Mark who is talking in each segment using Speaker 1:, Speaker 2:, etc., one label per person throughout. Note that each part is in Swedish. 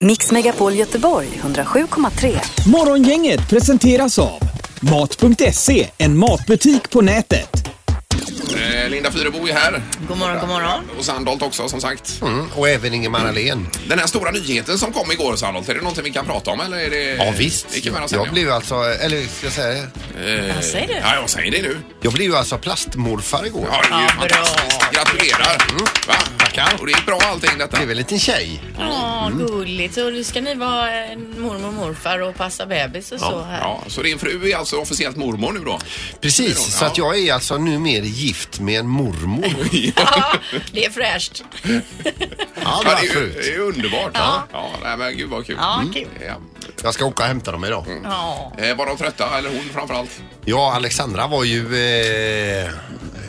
Speaker 1: Mix Megapol Göteborg 107,3.
Speaker 2: Morgongänget presenteras av Mat.se, en matbutik på nätet.
Speaker 3: Eh, Linda Fyrebo är här
Speaker 4: God morgon, god morgon.
Speaker 3: och Sandholt också som sagt.
Speaker 5: Mm, och även Ingemar Ahlén.
Speaker 3: Den här stora nyheten som kom igår Sandholt, är det någonting vi kan prata om eller är det?
Speaker 5: Ja visst.
Speaker 3: Det kan man säga.
Speaker 5: Jag blev alltså, eller ska jag säga
Speaker 3: Eh,
Speaker 4: Vad säger du?
Speaker 3: Ja, jag säger det nu.
Speaker 5: Jag blev ju alltså plastmorfar igår.
Speaker 3: Ja, det är ju
Speaker 4: Ja,
Speaker 3: fantastiskt.
Speaker 4: bra.
Speaker 3: Gratulerar. Va? Tackar. Och det gick bra allting detta.
Speaker 5: Mm. Det är väl en liten tjej?
Speaker 4: Ja, gulligt. Och nu ska ni vara eh, mormor och morfar och passa bebis och så här.
Speaker 3: Ja, så din fru är alltså officiellt mormor nu då?
Speaker 5: Precis,
Speaker 3: Ja.
Speaker 5: så att jag är alltså numera gift med en mormor.
Speaker 4: Ja, det är fräscht.
Speaker 5: Ja, det
Speaker 3: Ja,
Speaker 5: var
Speaker 3: det, är ju,
Speaker 5: förut.
Speaker 3: det är ju underbart. Ja. Ja, nej, men gud vad kul. Mm.
Speaker 4: Ja, kul.
Speaker 3: Ja.
Speaker 5: Jag ska åka och hämta dem idag.
Speaker 4: Ja.
Speaker 3: Eh, var de trötta? Eller hon framförallt?
Speaker 5: Ja, Alexandra var ju... Eh,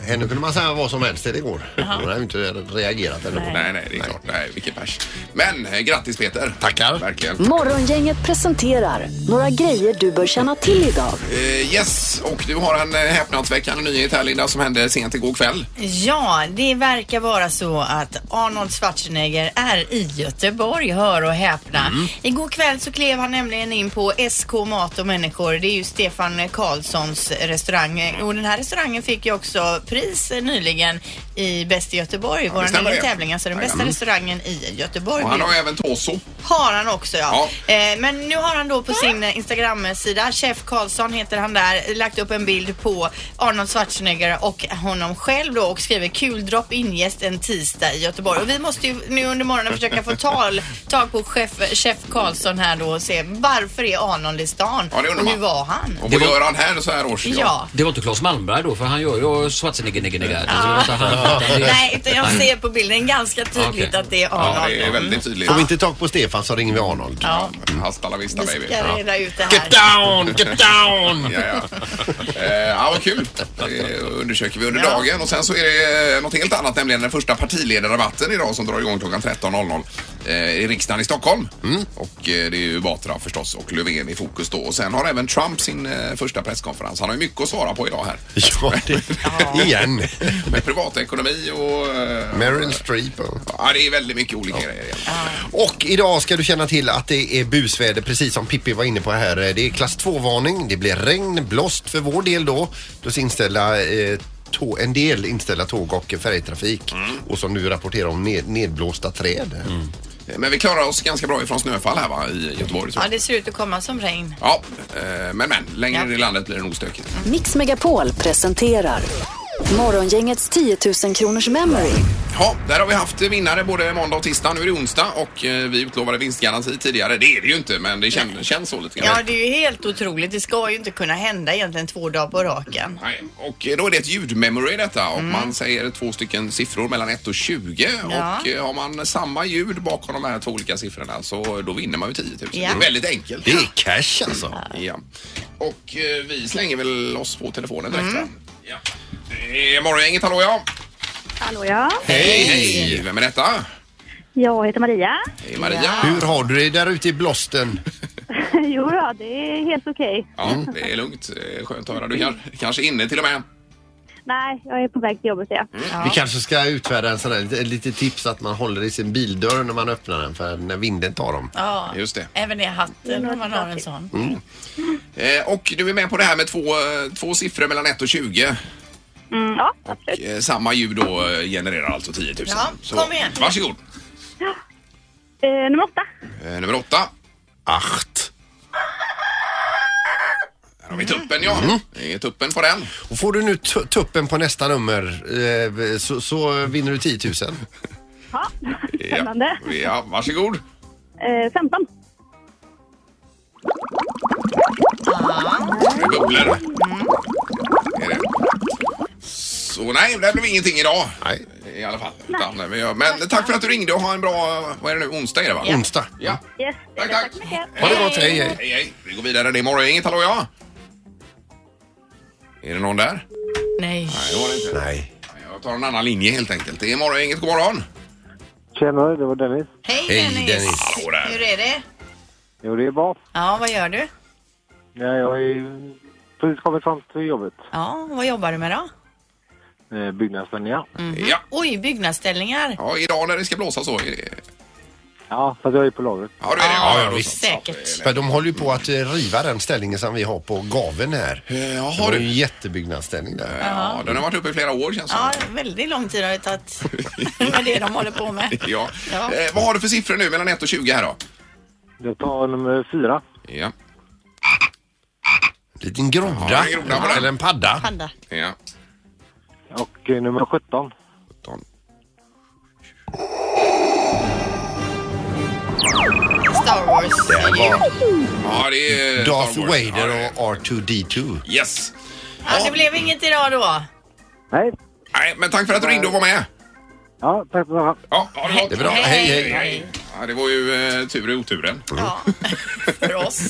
Speaker 5: henne kunde man säga vad som helst till igår. Hon har ju inte reagerat ännu. på det.
Speaker 3: Nej, nej, det är klart. Nej, vilken pers. Men eh, grattis Peter.
Speaker 5: Tackar.
Speaker 3: Verkligen.
Speaker 1: Morgongänget presenterar några grejer du bör känna till idag.
Speaker 3: Eh, yes, och du har en eh, häpnadsväckande nyhet här Linda som hände sent igår kväll.
Speaker 4: Ja, det verkar vara så att Arnold Schwarzenegger är i Göteborg, hör och häpna. Igår kväll så klev han nämligen in på SK Mat och Människor. Det är ju Stefan Karlssons restaurang. Och den här restaurangen fick ju också pris eh, nyligen i Bäst i Göteborg, vår
Speaker 3: stämmer
Speaker 4: egen
Speaker 3: det.
Speaker 4: tävling. Alltså den bästa restaurangen i Göteborg.
Speaker 3: Och han
Speaker 4: blev
Speaker 3: har även Toso.
Speaker 4: har han också ja.
Speaker 3: Ja.
Speaker 4: Eh, men nu har han då på sin eh, Instagram-sida, Chef Karlsson heter han där, lagt upp en bild på Arnold Schwarzenegger och honom själv då och skriver kul drop in-gäst en tisdag i Göteborg. Och vi måste ju nu under morgonen försöka få tal, tag på chef, chef Karlsson här då och se varför är Arnold i stan?
Speaker 3: Ja, det undrar
Speaker 4: och hur
Speaker 3: man.
Speaker 4: var han?
Speaker 3: Och
Speaker 6: Det
Speaker 3: vad
Speaker 6: var-
Speaker 3: gör han här så här års?
Speaker 4: Ja.
Speaker 6: Det var inte Claes Malmberg då, för han gör ju Schwarzenegger-negger. Alltså,
Speaker 4: Nej, utan jag ser på bilden ganska tydligt
Speaker 6: Okej.
Speaker 4: att det är
Speaker 3: Ja,
Speaker 4: Arnold.
Speaker 3: det är väldigt tydligt.
Speaker 5: Får vi inte tag på Stefan så ringer vi Arnold.
Speaker 4: Ja,
Speaker 3: Hasta la vista
Speaker 4: vi
Speaker 3: baby.
Speaker 4: ska reda ut det
Speaker 5: Get
Speaker 4: här.
Speaker 5: down, get down!
Speaker 3: Ja, ja. Eh, ja, vad kul. Det undersöker vi under
Speaker 4: Ja.
Speaker 3: dagen. Och sen så är det eh, något helt annat, nämligen den första partiledardebatten idag som drar igång klockan 13.00 eh, i riksdagen i Stockholm. Och eh, det är ju Batra förstås och Löfven i fokus då. Och sen har även Trump sin eh, första presskonferens. Han har ju mycket att svara på idag här.
Speaker 5: Ja, det, igen.
Speaker 3: Med privatekonomi och... eh,
Speaker 5: Meryl Streep. och-
Speaker 3: Ja, det är väldigt mycket olika grejer. egentligen.
Speaker 5: Och idag ska du känna till att det är busväder precis som Pippi var inne på här. Det är klass 2-varning, det blir regn, blåst för vår del då. Plus inställa eh, tå- en del inställda tåg och färjetrafik. Och som nu rapporterar om ned, nedblåsta träd.
Speaker 3: Men vi klarar oss ganska bra ifrån snöfall här va, i Göteborg.
Speaker 4: Ja,
Speaker 3: tror jag.
Speaker 4: det ser ut att komma som regn.
Speaker 3: Ja, eh, men men, längre
Speaker 4: Ja. Mm.
Speaker 3: ner i landet blir det nog stökigt.
Speaker 1: Mix Megapol presenterar Morgongängets 10 000 kronors memory.
Speaker 3: Ja, där har vi haft vinnare både måndag och tisdag. Nu är det onsdag och eh, vi utlovade vinstgaranti tidigare. Det är det ju inte, men det kän, känns så lite
Speaker 4: Ja,
Speaker 3: grann.
Speaker 4: det är ju helt otroligt. Det ska ju inte kunna hända egentligen två dagar på raken.
Speaker 3: Nej, och eh, då är det ett ljudmemory detta
Speaker 4: Mm.
Speaker 3: och man säger två stycken siffror mellan 1 och 20
Speaker 4: Ja.
Speaker 3: och eh, har man samma ljud bakom de här två olika siffrorna så då vinner man ju 10 000.
Speaker 4: Ja.
Speaker 3: Det är väldigt enkelt.
Speaker 5: Det är cash alltså.
Speaker 3: Ja. Och eh, vi slänger väl oss på telefonen direkt va?
Speaker 4: Mm.
Speaker 3: Ja. Eh, Morgongänget, hallå ja!
Speaker 7: Hallå ja,
Speaker 3: Hej! Hej. Vem är detta?
Speaker 7: jag heter Maria.
Speaker 3: Hej Maria.
Speaker 5: Hur har du det där ute i blåsten?
Speaker 7: Jo då, det är helt okej.
Speaker 3: Ja, det är lugnt. Eh, Skönt att höra. Du kan, kanske är inne till och med.
Speaker 7: Nej, jag är på väg till jobbet ja.
Speaker 3: Mm.
Speaker 5: Vi kanske ska utfärda en sån där lite, lite tips att man håller i sin bildörr när man öppnar den för när vinden tar dem.
Speaker 4: Ja,
Speaker 3: Just det.
Speaker 4: även i hatten om man har en sån.
Speaker 3: Eh, och du är med på det här med två, eh, två siffror mellan 1 och 20.
Speaker 7: Mm, ja, absolut.
Speaker 3: Och, eh, samma ljud då eh, genererar alltså 10 000.
Speaker 4: Ja, kom igen.
Speaker 3: Varsågod.
Speaker 7: Eh, nummer åtta.
Speaker 3: Eh, nummer åtta.
Speaker 5: Acht!
Speaker 3: Här har vi
Speaker 4: Mm.
Speaker 3: tuppen ja. Det är tuppen på den.
Speaker 5: Och får du nu tu- tuppen på nästa nummer eh, så, så vinner du 10 000.
Speaker 7: Ja,
Speaker 3: Ja,
Speaker 7: spännande.
Speaker 3: ja varsågod.
Speaker 7: Eh, 15.
Speaker 3: Det bubblar. Är det. Eh, Så nej, det blev ingenting idag.
Speaker 5: Nej.
Speaker 3: I alla fall. Utan, men jag- men tack för att du ringde och ha en bra, vad är det nu, onsdag är det va?
Speaker 5: Onsdag.
Speaker 3: Ja.
Speaker 7: Yes,
Speaker 3: Tack,
Speaker 7: tack
Speaker 3: tack.
Speaker 7: så mycket.
Speaker 5: Ha det gott, hej hej.
Speaker 3: Hej, hej. Vi går vidare. Det är Morgongänget. Hallå, ja? Är det någon där?
Speaker 4: Nej.
Speaker 3: Nej, det var det inte.
Speaker 5: Nej.
Speaker 3: Jag tar en annan linje helt enkelt. Det är Morgongänget. God morgon!
Speaker 8: Tjena, det var Dennis.
Speaker 4: Hej
Speaker 5: Hej,
Speaker 4: Dennis.
Speaker 5: Dennis.
Speaker 3: Hallå där.
Speaker 4: Hur är det?
Speaker 8: Jo, det är bra.
Speaker 4: Ja, vad gör du?
Speaker 8: Ja, jag är precis kommit fram till jobbet.
Speaker 4: Ja, vad jobbar du med då?
Speaker 8: Eh, Byggnadsvänliga.
Speaker 3: Ja.
Speaker 4: Oj, byggnadsställningar.
Speaker 3: ja, idag när det ska blåsa så. är det-
Speaker 8: Ja, fast jag är på lagret.
Speaker 3: Eh, Ja, du är det.
Speaker 5: Ja, ja,
Speaker 3: då
Speaker 5: visst.
Speaker 3: så.
Speaker 4: Säkert.
Speaker 5: För de håller ju på att eh, riva den ställningen som vi har på gaven här.
Speaker 3: Eh,
Speaker 5: Det
Speaker 3: Jaha,
Speaker 5: var ju en
Speaker 3: du.
Speaker 5: jättebyggnadsställning där.
Speaker 3: Ja, den har varit uppe i flera år känns det
Speaker 4: Ja, väldigt lång tid har det tagit med det de håller på med.
Speaker 3: Ja.
Speaker 4: Ja.
Speaker 3: Eh, vad har du för siffror nu mellan 1 och 20 här då?
Speaker 8: Jag tar nummer fyra.
Speaker 3: Ja.
Speaker 5: Liten
Speaker 3: Ja,
Speaker 5: groda.
Speaker 3: en groda var det.
Speaker 5: Eller en padda.
Speaker 4: Panda.
Speaker 3: ja.
Speaker 8: Och eh, nummer 17.
Speaker 3: Sjutton.
Speaker 4: Star Wars.
Speaker 5: Det var
Speaker 3: Ja, det är Star
Speaker 5: Darth
Speaker 3: Wars. Ja, det
Speaker 5: Vader
Speaker 3: är-
Speaker 5: och R2D2.
Speaker 3: Yes.
Speaker 4: Ja, det blev inget idag då.
Speaker 8: Nej.
Speaker 3: Nej, men tack för att du ringde och var med.
Speaker 8: Ja, tack för att
Speaker 3: Ja, ha det
Speaker 5: Det är
Speaker 3: gott.
Speaker 5: bra. Hej, hej.
Speaker 3: Ja, det var ju eh, tur i oturen.
Speaker 4: Ja, för oss.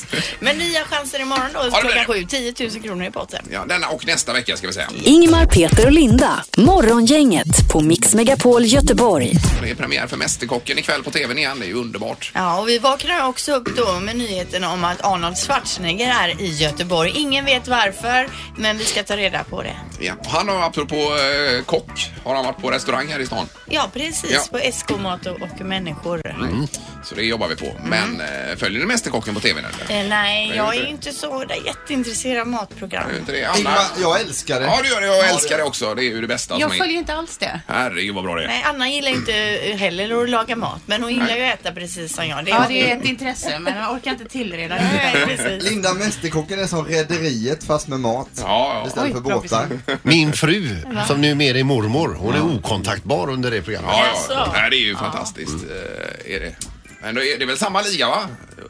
Speaker 4: Men nya chanser imorgon då,
Speaker 3: det blir
Speaker 4: klockan
Speaker 3: det.
Speaker 4: sju. 10 000 kronor i potten.
Speaker 3: Ja, denna och nästa vecka ska vi säga.
Speaker 1: Ingmar, Peter och Linda. Morgongänget på Mix Megapol Göteborg.
Speaker 3: Det är premiär för Mästerkocken ikväll på tvn igen. Det är ju underbart.
Speaker 4: Ja, och vi vaknar också upp då med nyheten om att Arnold Schwarzenegger är i Göteborg. Ingen vet varför, men vi ska ta reda på det.
Speaker 3: Ja. och Han har, apropå eh, kock, har han varit på restaurang här i stan.
Speaker 4: Ja, precis.
Speaker 3: Ja. Mm.
Speaker 4: På SK Mat och, och människor. Eh,
Speaker 3: Så det jobbar vi på.
Speaker 5: Mm.
Speaker 3: Men eh, följer du Mästerkocken på tvn eller?
Speaker 4: Eh, nej,
Speaker 3: Nej,
Speaker 4: jag
Speaker 3: inte.
Speaker 4: är ju inte så där jätteintresserad av matprogram.
Speaker 3: Är du inte det? Anna?
Speaker 9: Ingmar, jag älskar det.
Speaker 3: Ja, det gör det. Jag älskar det också. Det är ju det bästa
Speaker 10: Jag
Speaker 3: som
Speaker 10: följer
Speaker 3: är.
Speaker 10: inte alls det.
Speaker 3: Herregud vad bra det är.
Speaker 4: Nej, Anna gillar ju inte eh, heller att laga mat, men hon gillar ju att äta precis som jag. Det
Speaker 10: Ja, det är ett intresse men jag orkar inte tillreda det.
Speaker 4: Nej, precis.
Speaker 9: Linda Mästerkocken är som Rederiet fast med mat.
Speaker 3: Ja, ja.
Speaker 9: Istället för
Speaker 10: Oj, bra
Speaker 9: båtar.
Speaker 5: Min fru, som numera är mormor, hon är okontaktbar under det programmet.
Speaker 3: ja, ja.
Speaker 4: Jaså?
Speaker 3: Nej, det är ju fantastiskt. Eh, är det. Men då är det är väl samma liga va?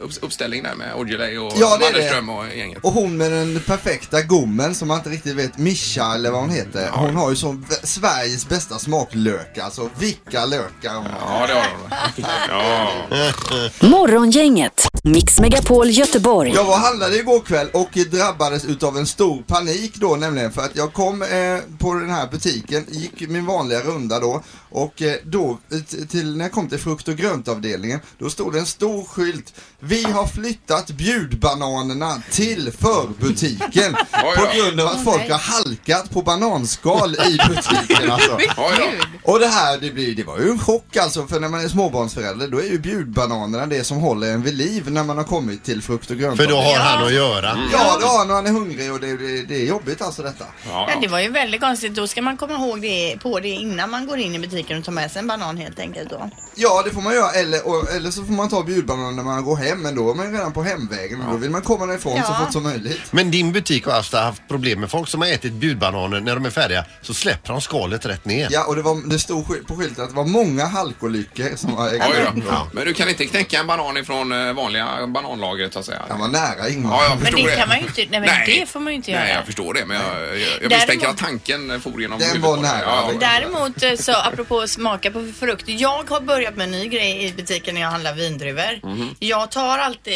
Speaker 3: Upp, uppställning där med Aujalay och
Speaker 9: Ja, det är
Speaker 3: Mannerström
Speaker 9: det.
Speaker 3: och gänget.
Speaker 9: Och hon med den perfekta gommen som man inte riktigt vet, Mischa eller vad hon heter. Hon har ju som v- Sveriges bästa smaklökar. Alltså vilka lökar hon har.
Speaker 3: Ja, det har de. Ja.
Speaker 1: Morgongänget, Mix Megapol Göteborg.
Speaker 9: Jag var och handlade igår kväll och drabbades utav en stor panik då nämligen för att jag kom eh, på den här butiken, gick min vanliga runda då och eh, då eh, t- till, när jag kom till frukt och gröntavdelningen då stod det en stor skylt Vi har flyttat bjudbananerna till förbutiken
Speaker 3: Oj
Speaker 9: på
Speaker 3: då.
Speaker 9: grund av att folk har halkat på bananskal i butiken alltså.
Speaker 3: Ja, ja.
Speaker 9: Och det här, det, blir, det var ju en chock alltså för när man är småbarnsförälder då är ju bjudbananerna det som håller en vid liv när man har kommit till frukt och grönt.
Speaker 5: För då har han att göra.
Speaker 9: Ja, det har han och han är hungrig och det, det, det är jobbigt alltså detta.
Speaker 3: Ja,
Speaker 4: Ja, det var ju väldigt konstigt. Då ska man komma ihåg det, på det innan man går in i butiken och tar med sig en banan helt enkelt. Då.
Speaker 9: Ja, det får man göra eller, och, eller så får man ta bjudbananen när man går hem men då är man ju redan på hemvägen och då vill man komma därifrån så
Speaker 4: Ja.
Speaker 9: fort som möjligt.
Speaker 5: Men din butik har haft, haft problem med folk som har ätit bjudbananer när de är färdiga så släpper de skalet rätt ner.
Speaker 9: Ja, och det, var, det stod sky- på skylten att det var många halkolyckor som har ägt
Speaker 3: Oj
Speaker 9: rum.
Speaker 3: då. Men du kan inte knäcka en banan ifrån eh, vanliga bananlagret så att säga?
Speaker 9: Han var nära Ingmar.
Speaker 3: Ja, jag
Speaker 4: Men
Speaker 3: förstår
Speaker 4: det kan man ju inte- nej, men det får man ju inte
Speaker 3: Nej,
Speaker 4: göra.
Speaker 3: jag förstår det. Men jag, jag, jag
Speaker 4: Däremot-
Speaker 3: misstänker att tanken for genom
Speaker 9: Den
Speaker 3: huvudet
Speaker 9: var
Speaker 3: på dig.
Speaker 9: nära.
Speaker 3: Ja, ja.
Speaker 4: Däremot eh, så apropå att smaka på frukt. Jag har börjat med en ny grej i butiken när jag handlar vindruvor.
Speaker 3: Mhm.
Speaker 4: Jag tar alltid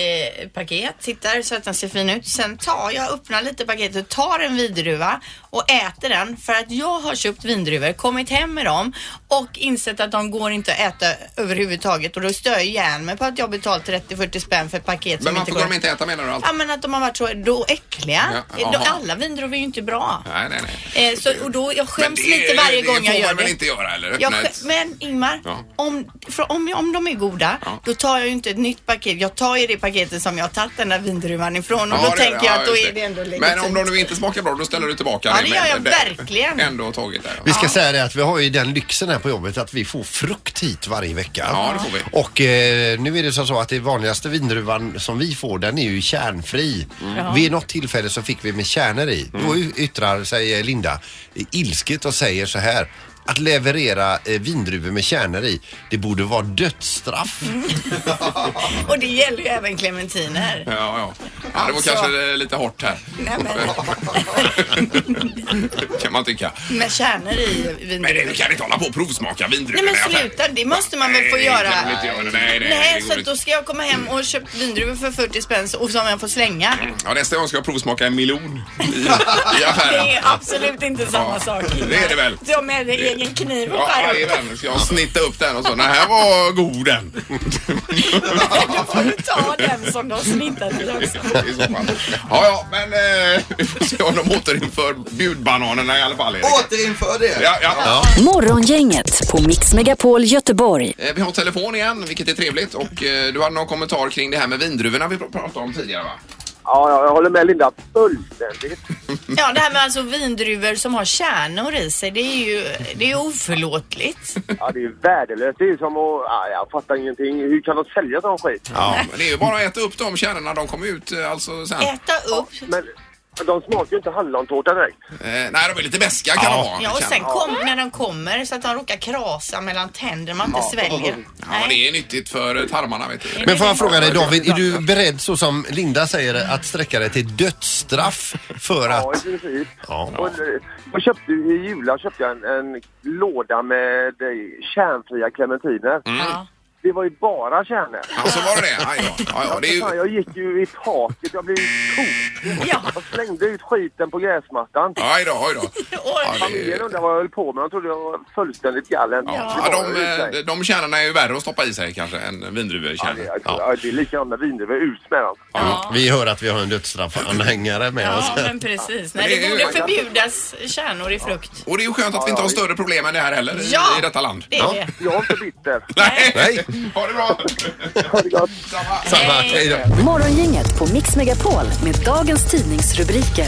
Speaker 4: paket, tittar så att den ser fin ut. Sen tar jag, öppnar lite paketet, tar en vindruva och äter den för att jag har köpt vindruvor, kommit hem med dem och insett att de går inte att äta överhuvudtaget och då stör jag ihjäl mig på att jag betalt 30-40 spänn för ett paket
Speaker 3: Men
Speaker 4: som
Speaker 3: varför
Speaker 4: inte
Speaker 3: går
Speaker 4: går.
Speaker 3: de inte äta menar du? Allt?
Speaker 4: Ja men att de har varit så då äckliga.
Speaker 3: Ja,
Speaker 4: Då-
Speaker 3: aha.
Speaker 4: Alla vindruvor är ju inte bra.
Speaker 3: Nej, nej, nej.
Speaker 4: Eh, så, och då, jag
Speaker 3: Men
Speaker 4: skäms
Speaker 3: det-
Speaker 4: lite varje gång jag
Speaker 3: Det
Speaker 4: gör
Speaker 3: får man
Speaker 4: det.
Speaker 3: väl inte göra eller?
Speaker 4: Jag,
Speaker 3: Öppna ett-
Speaker 4: skä- men Ingmar,
Speaker 3: Ja.
Speaker 4: om, för om, om de är goda,
Speaker 3: Ja.
Speaker 4: då tar jag ju inte ett nytt paket. Jag tar ju det paketet som jag har tagit den där vindruvan ifrån och
Speaker 3: Ja,
Speaker 4: då
Speaker 3: det-
Speaker 4: tänker jag
Speaker 3: ja,
Speaker 4: att då
Speaker 3: just
Speaker 4: är det ändå legitimt.
Speaker 3: Men om de nu inte smakar bra, då ställer du tillbaka
Speaker 4: Ja, det gör
Speaker 3: men
Speaker 4: jag verkligen.
Speaker 3: Ändå tagit det.
Speaker 5: Vi ska säga det att vi har ju den lyxen här på jobbet att vi får frukt hit varje vecka.
Speaker 3: Ja, det får vi.
Speaker 5: Och eh, nu är det så så att det vanligaste vindruvan som vi får den är ju kärnfri.
Speaker 3: Mm.
Speaker 5: Vid något tillfälle så fick vi med kärnor i. Då y- yttrar sig eh, Linda eh, ilsket och säger så här. Att leverera eh, vindruvor med kärnor i, det borde vara dödsstraff.
Speaker 3: Mm.
Speaker 4: Och det gäller ju även clementiner.
Speaker 3: Ja, ja. ja det var
Speaker 4: Alltså.
Speaker 3: kanske eh, lite hårt här.
Speaker 4: Nej,
Speaker 3: kan man tycka.
Speaker 4: Med kärnor i
Speaker 3: Men det,
Speaker 4: vindruvor.
Speaker 3: vi kan inte hålla på och provsmaka
Speaker 4: Nej
Speaker 3: vindruvor
Speaker 4: men
Speaker 3: i affären.
Speaker 4: sluta, det måste man väl få
Speaker 3: Nej,
Speaker 4: göra.
Speaker 3: det kan vi inte göra. Nej, nej, det
Speaker 4: Nej,
Speaker 3: går
Speaker 4: så att
Speaker 3: inte.
Speaker 4: då ska jag komma hem och köpa vindruvor för 40 spänn och som jag får slänga.
Speaker 3: Ja, nästa gång ska jag provsmaka en miljon i, i affären.
Speaker 4: Det är absolut inte samma
Speaker 3: Ja,
Speaker 4: sak.
Speaker 3: det är
Speaker 4: Ingmar.
Speaker 3: det väl.
Speaker 4: Du har med dig egen kniv och
Speaker 3: Ja,
Speaker 4: skär upp.
Speaker 3: jajamän. Ska jag snitta upp den och så. Den här var god den.
Speaker 4: Då får du ta den som du har snittat till också.
Speaker 3: I så fall. Ja, ja, men eh, vi får se. se om de återinför bjudbananerna i alla fall. Erik.
Speaker 9: Återinför det!
Speaker 3: Ja, ja.
Speaker 1: Morgongänget på Mix Megapol Göteborg.
Speaker 3: Eh, Vi har telefon igen, vilket är trevligt. Och eh, du hade någon kommentar kring det här med vindruvorna vi pr- pratade om tidigare, va?
Speaker 8: Ja, ja, jag håller med Linda fullständigt.
Speaker 4: Ja, det här med alltså vindruvor som har kärnor i sig, det är ju det är oförlåtligt.
Speaker 8: Ja, det är ju värdelöst. Det är ju som att... Ja, jag fattar ingenting. Hur kan de sälja sån skit?
Speaker 3: Ja, men det är ju bara att äta upp de kärnorna, de kommer ut eh, alltså sen.
Speaker 4: Äta upp.
Speaker 8: Men de smakar ju inte hallontårta direkt.
Speaker 3: Eh, nej, de är lite beska kan de vara.
Speaker 4: Ja, och
Speaker 3: kärnorna.
Speaker 4: sen kom, när de kommer så att de råkar krasa mellan tänderna man inte sväljer.
Speaker 3: Ja, Mm. men det är nyttigt för eh, tarmarna, vet du.
Speaker 5: Men får jag fråga dig David, är du beredd så som Linda säger att sträcka dig till dödsstraff för
Speaker 8: Ja, i
Speaker 5: att...
Speaker 8: princip.
Speaker 5: Ja.
Speaker 8: Och, eh, jag köpte, I julas köpte jag en, en låda med eh, kärnfria clementiner.
Speaker 4: Ja.
Speaker 8: Det var ju bara kärnor.
Speaker 3: Alltså var det det? Aj, ja. Ja, ja, det är
Speaker 8: Fan,
Speaker 3: ju...
Speaker 8: jag gick ju i taket. Jag blev tokig.
Speaker 4: Ja.
Speaker 8: Jag slängde ut skiten på gräsmattan.
Speaker 3: Aj då, aj då.
Speaker 4: Och,
Speaker 3: Ja, det
Speaker 8: Familjen
Speaker 3: är...
Speaker 8: undrade vad jag höll på med. De trodde jag var fullständigt gallen.
Speaker 3: Eh. Ja,
Speaker 8: Det
Speaker 3: de,
Speaker 8: var jag i och för
Speaker 3: eh,
Speaker 8: sig.
Speaker 3: de kärnorna är ju värre att stoppa i sig kanske än
Speaker 8: Ja,
Speaker 3: vindruvekärnor.
Speaker 8: det, är- ja, det är likadant med vindruvor. Ut med dem.
Speaker 4: ja.
Speaker 5: Vi hör att vi har en dödsstraffanhängare med oss.
Speaker 4: ja, men precis. Nej,
Speaker 3: Det är
Speaker 4: det
Speaker 3: ju-
Speaker 4: borde förbjudas kärnor i frukt.
Speaker 3: Och det är ju skönt att vi inte har större problem än det här heller i,
Speaker 4: Ja.
Speaker 3: i detta land.
Speaker 4: Det är det.
Speaker 8: Jag är inte bitter.
Speaker 3: Nej.
Speaker 5: Nej.
Speaker 3: Ha det bra!
Speaker 8: Ha det gott.
Speaker 3: Samma.
Speaker 5: Samma. Hej då.
Speaker 1: Morgongänget på Mix Megapol med dagens tidningsrubriker.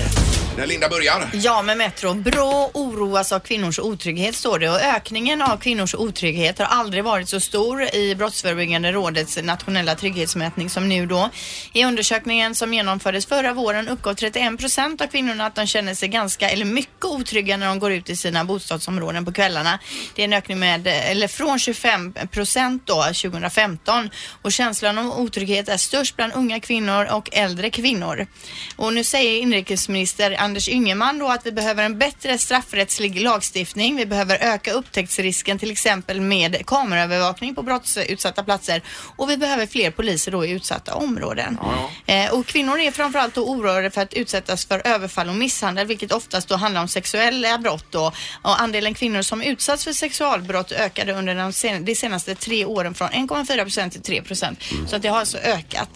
Speaker 3: När Linda börjar.
Speaker 4: Ja, med Metro. Brå oroas av kvinnors otrygghet står det och ökningen av kvinnors otrygghet har aldrig varit så stor i Brottsförebyggande rådets nationella trygghetsmätning som nu då. I undersökningen som genomfördes förra våren uppgav 31 procent av kvinnorna att de känner sig ganska eller mycket otrygga när de går ut i sina bostadsområden på kvällarna. Det är en ökning med, eller från 25 procent då 2015 och känslan om otrygghet är störst bland unga kvinnor och äldre kvinnor. Och nu säger inrikesminister Anders Ygeman då att vi behöver en bättre straffrättslig lagstiftning. Vi behöver öka upptäcktsrisken till exempel med kameraövervakning på brottsutsatta platser och vi behöver fler poliser då i utsatta områden. Eh, och kvinnor är framförallt då oroade för att utsättas för överfall och misshandel vilket oftast då handlar om sexuella brott då. Och andelen kvinnor som utsatts för sexualbrott ökade under de, sen- de senaste tre åren från 1,4 till 3 Så att det har alltså ökat.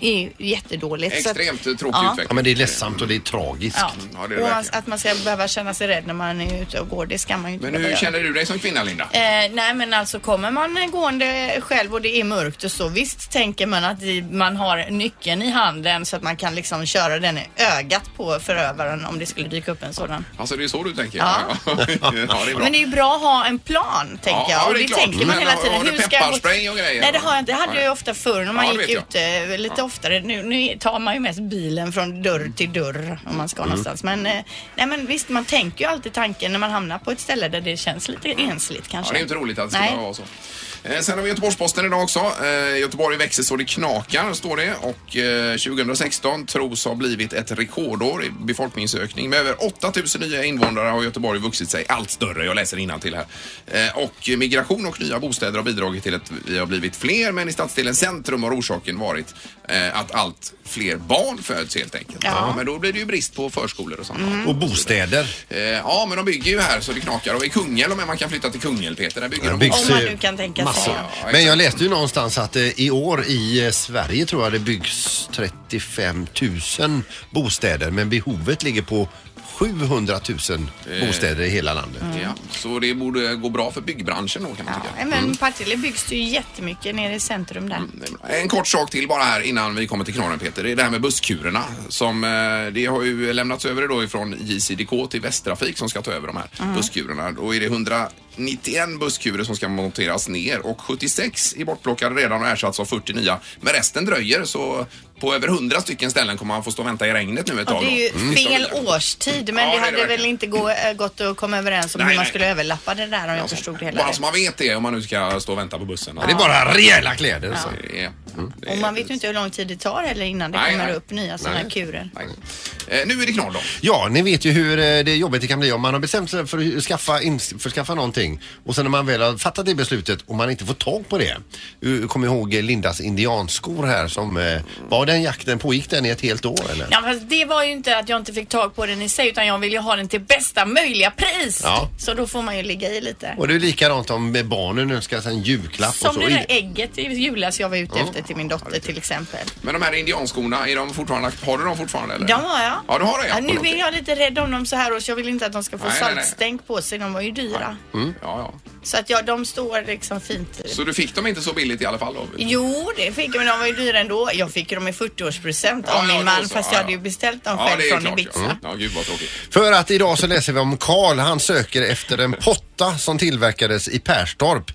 Speaker 4: Det är ju jättedåligt. Så att-
Speaker 3: Extremt tråkig
Speaker 4: Ja.
Speaker 5: Ja,
Speaker 3: utveckling.
Speaker 5: men det är ledsamt och det är tragiskt.
Speaker 4: Ja.
Speaker 3: Ja, det är det
Speaker 4: och
Speaker 3: verkligen.
Speaker 4: att man ska behöva känna sig rädd när man är ute och går, det ska man ju inte
Speaker 3: Men
Speaker 4: behöva
Speaker 3: hur
Speaker 4: göra.
Speaker 3: känner du dig som kvinna, Linda?
Speaker 4: Eh, nej men alltså kommer man gående själv och det är mörkt och så visst tänker man att i- man har nyckeln i handen så att man kan liksom köra den i ögat på förövaren om det skulle dyka upp en sådan.
Speaker 3: Alltså det är så du tänker?
Speaker 4: Ja.
Speaker 3: ja det är bra.
Speaker 4: Men det är ju bra att ha en plan tänker
Speaker 3: Ja, ja,
Speaker 4: jag och
Speaker 3: det
Speaker 4: det,
Speaker 3: är klart.
Speaker 4: tänker man
Speaker 3: Men
Speaker 4: hela
Speaker 3: har-
Speaker 4: tiden.
Speaker 3: har du
Speaker 4: ska jag gå-
Speaker 3: pepparspray och grejer?
Speaker 4: Nej det har jag inte. Det hade
Speaker 3: Nej.
Speaker 4: jag ju ofta förr när man
Speaker 3: Ja, det
Speaker 4: gick
Speaker 3: vet
Speaker 4: ut eh, lite oftare. Nu, nu tar man ju mest bilen från dörr till dörr om man
Speaker 3: Mm.
Speaker 4: ska någonstans. Men, eh, nej, men visst man tänker ju alltid tanken när man hamnar på ett ställe där det känns lite ensligt
Speaker 3: Ja,
Speaker 4: kanske.
Speaker 3: det är inte roligt att det ska
Speaker 4: Nej.
Speaker 3: vara så. Eh, Sen har vi Göteborgs-Posten idag också. Eh, Göteborg växer så det knakar, står det. Och eh, 2016 tros ha blivit ett rekordår i befolkningsökning. Med över 8000 nya invånare har Göteborg vuxit sig allt större. Jag läser till här. Eh, Och migration och nya bostäder har bidragit till att vi har blivit fler. Men i stadsdelen centrum har orsaken varit eh, att allt fler barn föds helt enkelt.
Speaker 4: Ja. Mm.
Speaker 3: Men då blir det ju brist på förskolor och sånt.
Speaker 5: Mm. Och bostäder.
Speaker 3: Eh, Ja, men de bygger ju här så det knakar. Och i Kungälv, om man kan flytta till Kungälv, Peter, där bygger
Speaker 5: Där
Speaker 3: de
Speaker 5: byggs
Speaker 3: också.
Speaker 4: Om man
Speaker 5: eh,
Speaker 4: nu kan tänka sig.
Speaker 5: massor.
Speaker 4: Ja,
Speaker 3: exakt.
Speaker 5: Men jag läste ju någonstans att eh, i år i eh, Sverige tror jag det byggs 35 000 bostäder men behovet ligger på 700 000 bostäder i hela landet.
Speaker 4: Mm.
Speaker 3: Ja, så det borde gå bra för byggbranschen då kan man tycka.
Speaker 4: Nej, men Partille byggs det ju jättemycket nere i centrum där.
Speaker 3: Mm. En kort sak till bara här innan vi kommer till knorren Peter. Det är det här med busskurerna. Som, eh, det har ju lämnats över då ifrån JCDK till Västtrafik som ska ta över de här
Speaker 4: Mm.
Speaker 3: busskurerna. Då är det 191 busskurer som ska monteras ner och 76 är bortplockade redan och ersatts av 40 nya. Men resten dröjer så på över 100 stycken ställen kommer man få stå och vänta i regnet nu ett
Speaker 4: Och
Speaker 3: tag.
Speaker 4: det är ju
Speaker 3: då. Mm.
Speaker 4: fel årstid men
Speaker 3: Ja, det
Speaker 4: det
Speaker 3: är det
Speaker 4: hade väl
Speaker 3: verkligen.
Speaker 4: inte gå, äh, gått att komma överens om
Speaker 3: Nej,
Speaker 4: hur man
Speaker 3: nej.
Speaker 4: skulle överlappa det där om jag förstod det hela
Speaker 3: Bara
Speaker 4: rätt.
Speaker 3: så man vet det om man nu ska stå och vänta på bussen.
Speaker 5: Det är bara rejäla kläder. Så.
Speaker 3: Det är- det är-
Speaker 4: Och man vet ju inte hur lång tid det tar heller innan det
Speaker 3: Nej,
Speaker 4: kommer
Speaker 3: nej.
Speaker 4: upp nya sådana här kurer.
Speaker 3: Nej. Eh, Nu är det knorr då.
Speaker 5: Ja, ni vet ju hur eh, det jobbigt det kan bli om man har bestämt sig för att skaffa, införskaffa någonting någonting. Och sen när man väl har fattat det beslutet och man inte får tag på det. Jag kommer ihåg Lindas indianskor här som, eh, var den jakten, pågick den i ett helt år eller?
Speaker 4: Ja, fast det var ju inte att jag inte fick tag på den i sig utan jag ville ju ha den till bästa möjliga pris.
Speaker 5: Ja.
Speaker 4: Så då får man ju ligga i lite.
Speaker 5: Och det är likadant om med barnen önskar sig en julklapp och
Speaker 4: Som
Speaker 5: så.
Speaker 4: det där ägget i julas jag var ute efter till min dotter till exempel.
Speaker 3: Men de här indianskorna, är de fortfarande, har du dem fortfarande eller?
Speaker 4: De har jag.
Speaker 3: Ja, du har det ja.
Speaker 4: Ja, nu är jag lite rädd om dem så här års. Jag vill inte att de ska få
Speaker 3: Nej, nej, nej.
Speaker 4: saltstänk på sig. De var ju dyra.
Speaker 3: Mm. Ja, ja.
Speaker 4: Så att ja, de står liksom fint.
Speaker 3: Så du fick dem inte så billigt i alla fall då?
Speaker 4: Jo, det fick jag, men de var ju dyra ändå. Jag fick ju dem i 40-årspresent
Speaker 3: Ja,
Speaker 4: av
Speaker 3: ja,
Speaker 4: min
Speaker 3: då
Speaker 4: man
Speaker 3: så,
Speaker 4: fast
Speaker 3: ja,
Speaker 4: jag hade ju
Speaker 3: ja.
Speaker 4: beställt dem
Speaker 3: Ja,
Speaker 4: själv
Speaker 3: det är
Speaker 4: från
Speaker 3: klart.
Speaker 4: Ibiza.
Speaker 3: ja. Mm. Ja, gud vad tråkigt.
Speaker 5: För att idag så läser vi om Karl. Han söker efter en potta som tillverkades i Perstorp.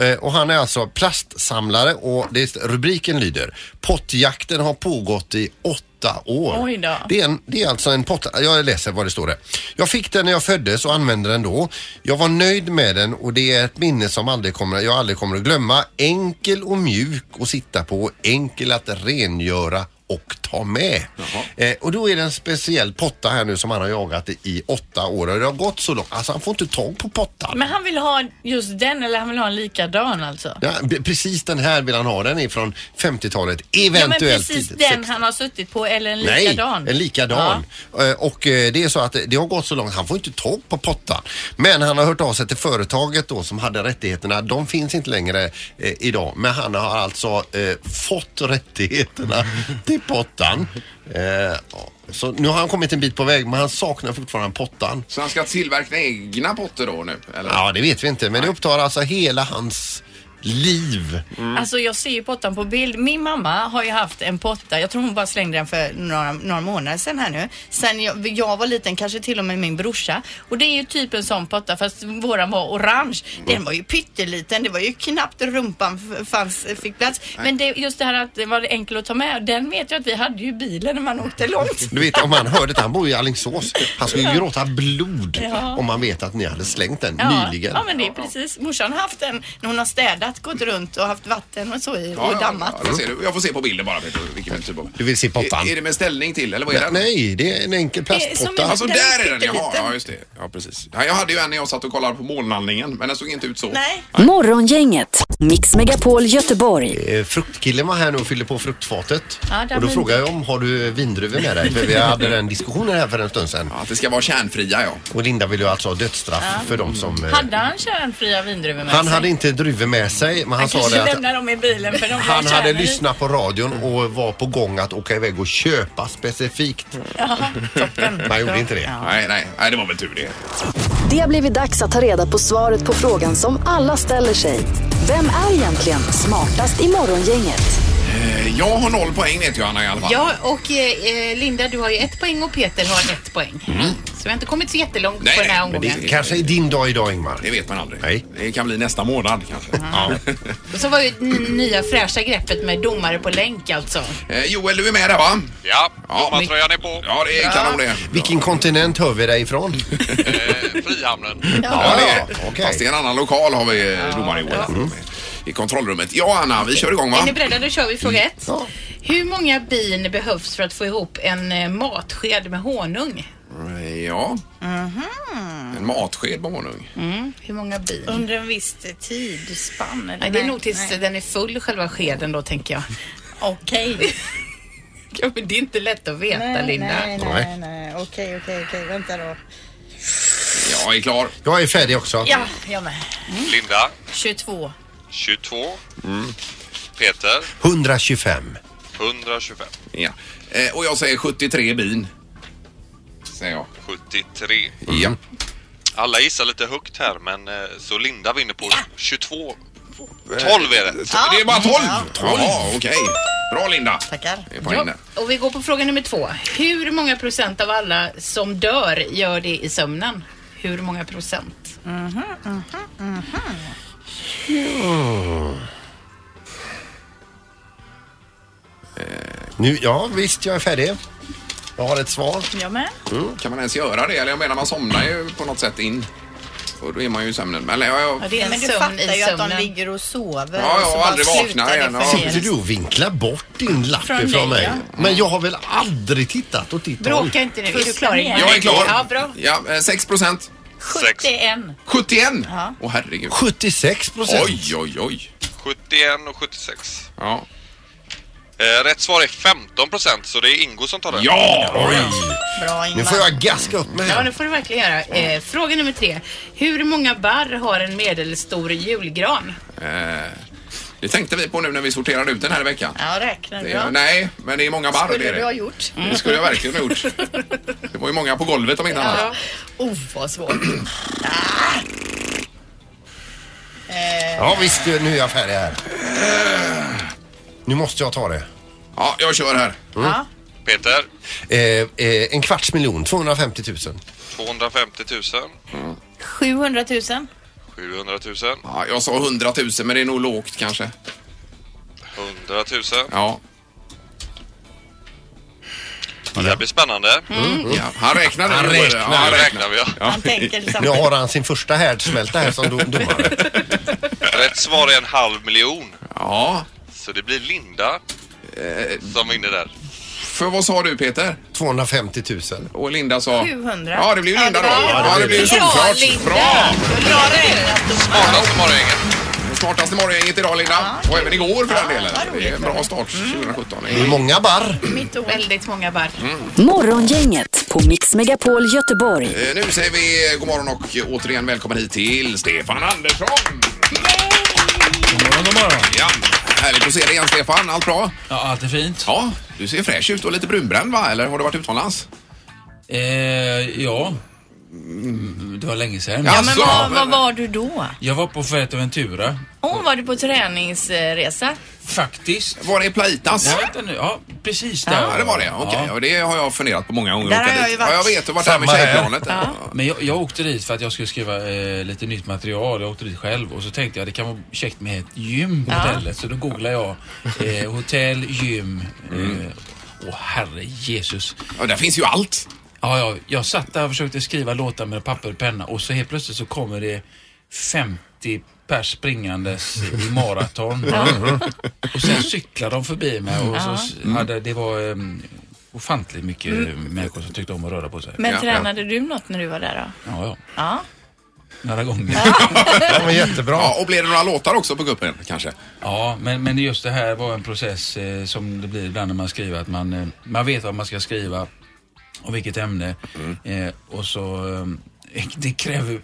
Speaker 5: Eh, och han är alltså plastsamlare och det, rubriken lyder Pottjakten har pågått i åtta år.
Speaker 4: Oj då.
Speaker 5: Det är, en, det är alltså en potta. Jag läser vad det står där. Jag fick den när jag föddes och använde den då. Jag var nöjd med den och det är ett minne som aldrig kommer, jag aldrig kommer att glömma. Enkel och mjuk att sitta på, enkel att rengöra och ta med. Eh, och då är det en speciell potta här nu som han har jagat i- i åtta år och det har gått så långt. Alltså han får inte tag på pottan.
Speaker 4: Men han vill ha just den eller han vill ha en likadan alltså?
Speaker 5: Ja, b- precis den här vill han ha. Den är från 50-talet.
Speaker 4: Ja, men
Speaker 5: Eventuellt
Speaker 4: precis
Speaker 5: tidigt
Speaker 4: den
Speaker 5: 60-tal.
Speaker 4: han har suttit på eller en
Speaker 5: Nej,
Speaker 4: likadan?
Speaker 5: en likadan. Eh, Och eh, det är så att det har gått så långt, han får inte tag på pottan. Men han har hört av sig till företaget då som hade rättigheterna. De finns inte längre eh, idag. Men han har alltså eh, fått rättigheterna till pottan. Eh, ja. så nu har han kommit en bit på väg men han saknar fortfarande pottan.
Speaker 3: Så han ska tillverka egna potter då nu? Eller?
Speaker 5: Ja, det vet vi inte. Men det upptar alltså hela hans liv.
Speaker 4: Alltså jag ser ju pottan på bild. Min mamma har ju haft en potta, jag tror hon bara slängde den för några, några månader sedan här nu. Sen jag, jag var liten, kanske till och med min brorsa. Och det är ju typ en sån potta fast våran var orange. Den var ju pytteliten, det var ju knappt rumpan f- fanns, fick plats. Men det, just det här att det var enkelt att ta med, den vet jag att vi hade ju i bilen när man åkte långt.
Speaker 5: Du vet om han hörde det, han bor ju i Alingsås. Han skulle ju gråta blod
Speaker 4: Ja.
Speaker 5: om han vet att ni hade slängt den
Speaker 4: Ja,
Speaker 5: nyligen.
Speaker 4: ja men det är precis. Morsan har haft den när hon har städat, gått runt och haft vatten och så i
Speaker 3: Ja,
Speaker 4: och dammat.
Speaker 3: Ja, ja, det ser du. jag får se på bilden bara Peter, vilken typ av...
Speaker 5: Du vill se pottan?
Speaker 3: Är, är det med ställning till eller vad är det?
Speaker 5: Nej, det är en enkel
Speaker 4: Det är
Speaker 5: plastpotta.
Speaker 4: som
Speaker 3: Alltså
Speaker 4: Den
Speaker 3: där är
Speaker 4: är
Speaker 3: den, jaha,
Speaker 4: pytteliten.
Speaker 3: ja just det. Ja precis. Ja, jag hade ju en när jag satt och kollade på månlandningen men den såg inte ut så.
Speaker 4: Nej.
Speaker 1: Morgongänget, Mix Megapol Göteborg.
Speaker 5: Eh, Fruktkillen var här nu och fyllde på fruktfatet.
Speaker 4: Ja, där
Speaker 5: och då
Speaker 4: vin-
Speaker 5: frågade jag om har du vindruvor med dig? För vi hade den diskussionen här för en stund sedan.
Speaker 3: Ja, att det ska vara kärnfria ja.
Speaker 5: Och Linda ville ju alltså ha dödsstraff för de som... eh,
Speaker 4: Hade han kärnfria vindruvor med
Speaker 5: han
Speaker 4: sig?
Speaker 5: hade inte druvor med sig men han, sa
Speaker 4: kanske
Speaker 5: det att
Speaker 4: lämnar dem i bilen för de var
Speaker 5: han hade
Speaker 4: kärnor i.
Speaker 5: lyssnat på radion och var på gång att åka iväg och köpa specifikt.
Speaker 4: Toppen.
Speaker 5: Man gjorde inte det.
Speaker 3: Nej, nej, nej, det var väl tur det.
Speaker 1: Det har blivit dags att ta reda på svaret på frågan som alla ställer sig. Vem är egentligen smartast i morgongänget?
Speaker 3: Eh, Jag har noll poäng vet ju Anna i alla fall.
Speaker 10: Ja, och eh, eh, Linda du har ju ett poäng och Peter har ett poäng.
Speaker 5: Mm.
Speaker 10: Så vi har inte kommit så jättelångt
Speaker 3: Nej,
Speaker 10: på den här
Speaker 3: nej, men
Speaker 10: omgången.
Speaker 3: det-
Speaker 5: Kanske är din dag idag Ingmar.
Speaker 3: Det vet man aldrig.
Speaker 5: Nej.
Speaker 3: Det kan bli nästa månad kanske.
Speaker 5: Ja.
Speaker 10: Och så var ju det n- nya fräscha greppet med domare på länk alltså.
Speaker 3: Eh, Joel, du är med där va?
Speaker 11: Ja,
Speaker 3: Ja,
Speaker 11: domartröjan är på.
Speaker 3: Ja, det är kanon det.
Speaker 5: Vilken kontinent hör vi dig ifrån?
Speaker 11: Eh, Frihamnen.
Speaker 5: Ja,
Speaker 3: det är-
Speaker 5: okej.
Speaker 3: Fast i en annan lokal har vi eh, domare i år. Mm. I kontrollrummet. Ja, Anna, vi kör igång va?
Speaker 10: Är ni beredda? Då kör vi fråga ett.
Speaker 5: Ja.
Speaker 10: Hur många bin behövs för att få ihop en eh, matsked med honung?
Speaker 3: Ja.
Speaker 10: Mhm.
Speaker 3: En matsked på honung.
Speaker 10: Hur många bin?
Speaker 4: Under en viss tidsspann? eller?
Speaker 10: Nej, det är nog tills den är full själva skeden då tänker jag.
Speaker 4: Okej.
Speaker 10: Ja, men det är inte lätt att veta Linda.
Speaker 5: Nej.
Speaker 4: nej. Okej, okej, okej. Vänta då.
Speaker 3: Jag är klar.
Speaker 5: Jag är färdig också.
Speaker 4: Ja, jag med.
Speaker 11: Linda,
Speaker 4: 22.
Speaker 11: 22. Peter,
Speaker 5: 125.
Speaker 11: 125.
Speaker 3: Ja. Eh, Och jag säger 73 bin. Säger jag.
Speaker 11: 73.
Speaker 5: Mm.
Speaker 3: Ja.
Speaker 11: Alla gissar lite högt här, men eh, så Linda vinner på 22. 12 är det.
Speaker 3: Det är bara 12! Jaha, okej. Bra Linda.
Speaker 4: Tackar.
Speaker 3: Det är poäng där.
Speaker 10: Och vi går på fråga nummer två. Hur många procent av alla som dör gör det i sömnen? Hur många procent?
Speaker 5: Nu, ja, visst, jag är färdig. Jag har ett svar.
Speaker 4: Jag med.
Speaker 3: Kan man ens göra det? Eller jag menar, man somnar ju på något sätt in. Och då är man ju i sömnen. Men eh, jag, jag,
Speaker 10: Ja, det är en
Speaker 4: Men du
Speaker 10: sömn
Speaker 4: fattar
Speaker 10: i
Speaker 4: ju att de
Speaker 10: sömnen.
Speaker 4: ligger och sover.
Speaker 3: Ja,
Speaker 4: och
Speaker 3: ja,
Speaker 4: så bara
Speaker 3: aldrig vaknar
Speaker 4: slutar det
Speaker 3: igen.
Speaker 4: för
Speaker 3: Ja.
Speaker 4: sent.
Speaker 5: Sitter du och vinklar bort din lapp
Speaker 10: Från
Speaker 5: ifrån
Speaker 10: dig,
Speaker 5: mig?
Speaker 10: ja.
Speaker 5: Men jag har väl aldrig tittat åt ditt håll?
Speaker 10: Bråka inte nu. Är du klar Ingmar?
Speaker 3: jag är klar.
Speaker 10: Ja, bra.
Speaker 3: Ja, eh, 6 procent.
Speaker 10: 71.
Speaker 3: 71? Ja. Åh herregud.
Speaker 5: 76
Speaker 11: procent.
Speaker 3: Oj, oj, oj.
Speaker 11: 71 och 76.
Speaker 3: Ja.
Speaker 11: Eh, rätt svar är 15 procent, så det är Ingo som tar det.
Speaker 3: Ja!
Speaker 10: Bra Ingmar.
Speaker 5: gaska upp mig.
Speaker 10: Ja, det får du verkligen göra. Eh, fråga nummer tre. Hur många barr har en medelstor julgran?
Speaker 3: Eh, det tänkte vi på nu när vi sorterade ut den här i veckan.
Speaker 10: Ja, räknar
Speaker 3: Det
Speaker 10: du
Speaker 3: är, nej, men det är många barr. det, är det.
Speaker 10: gjort.
Speaker 3: det skulle jag verkligen ha gjort. Det var ju många på golvet om inte annat.
Speaker 10: Ja. Oh, vad svårt.
Speaker 3: Mm.
Speaker 5: Ja visst, nu är jag färdig här. Nu måste jag ta det.
Speaker 3: Ja, jag kör här.
Speaker 10: Ja.
Speaker 11: Peter,
Speaker 5: Eh, eh, en kvarts miljon, 250 000.
Speaker 11: 250 000.
Speaker 10: 700 000.
Speaker 11: 700 000.
Speaker 3: Ja, jag sa 100 000 men det är nog lågt kanske.
Speaker 11: 100 000.
Speaker 3: Ja.
Speaker 11: Det här blir spännande.
Speaker 10: Mm.
Speaker 3: Ja, han räknar nu.
Speaker 5: Han
Speaker 3: Joel.
Speaker 5: räknar.
Speaker 3: Ja,
Speaker 11: Nu räknar vi. ja.
Speaker 10: Han tänker
Speaker 5: Nu
Speaker 10: liksom.
Speaker 5: har han sin första härdsmälta här som dom- domare.
Speaker 11: Rätt svar är en halv miljon.
Speaker 3: Ja.
Speaker 11: Så det blir Linda som vinner där.
Speaker 3: För vad sa du Peter?
Speaker 5: 250 000.
Speaker 3: Och Linda sa?
Speaker 10: 700.
Speaker 3: Ja, det blev ju Linda då. Ja, det blev ju
Speaker 10: Bra
Speaker 3: solklart.
Speaker 10: Linda!
Speaker 3: Bra!
Speaker 10: Bra
Speaker 4: Alltså,
Speaker 10: räknat.
Speaker 11: Smartaste morgongänget.
Speaker 3: Smartaste morgongänget idag Linda. Och även igår för den delen. Det är en bra start
Speaker 4: Mm.
Speaker 3: 2017.
Speaker 5: Det är många barr.
Speaker 10: Mitt ord. Väldigt många barr.
Speaker 3: Mm.
Speaker 1: Morgongänget på Mix Megapol Göteborg.
Speaker 3: Eh, Nu säger vi god morgon och eh, återigen välkommen hit till Stefan Andersson.
Speaker 6: God morgon, god morgon.
Speaker 3: Ja, härligt att se dig igen Stefan. Allt bra?
Speaker 6: Ja, allt är fint.
Speaker 3: Ja, du ser fräsch ut och lite brunbränd va? Eller har du varit utomlands?
Speaker 6: Eh, ja. Mm, Det var länge sedan.
Speaker 3: Ja,
Speaker 4: Ja, men
Speaker 3: Alltså,
Speaker 4: vad,
Speaker 3: men-
Speaker 4: vad var du då?
Speaker 6: Jag var på Fuerteventura.
Speaker 4: Åh,
Speaker 3: Mm.
Speaker 4: var du på träningsresa?
Speaker 6: Faktiskt.
Speaker 3: Var det i Plaitas?
Speaker 6: Ja, vänta nu. Ja, precis där.
Speaker 3: Ja, det var det. Okej,
Speaker 6: Ja.
Speaker 3: och det har jag funderat på många gånger.
Speaker 4: Där
Speaker 3: Åka
Speaker 4: har jag
Speaker 3: dit.
Speaker 4: ju varit.
Speaker 3: Ja, jag vet, du har varit där med
Speaker 5: Samma här.
Speaker 3: tjejplanet.
Speaker 6: Men jag, jag åkte dit för att jag skulle skriva eh, lite nytt material. Jag åkte dit själv och så tänkte jag det kan vara käckt med ett gym på hotellet. Så då googlade jag eh, hotell, gym. Åh eh, åh, herre Jesus.
Speaker 3: Ja, där finns ju allt.
Speaker 6: Ja, ja, jag satt där och försökte skriva låtar med papper och penna och så helt plötsligt så kommer det 50 pers springandes i maraton. och sen cyklade de förbi mig och så s- hade, det var um, ofantligt mycket människor som tyckte om att röra på sig.
Speaker 4: Men
Speaker 3: Ja,
Speaker 4: tränade du något när du var där då?
Speaker 6: Ja, ja.
Speaker 4: Ja.
Speaker 6: Några gånger.
Speaker 5: Ja, men jättebra.
Speaker 3: Ja, och blir det några låtar också på kuppen kanske?
Speaker 6: Ja, men, men just det här var en process eh, som det blir ibland när man skriver att man, eh, man vet vad man ska skriva och vilket ämne. Eh, och så eh, det kräver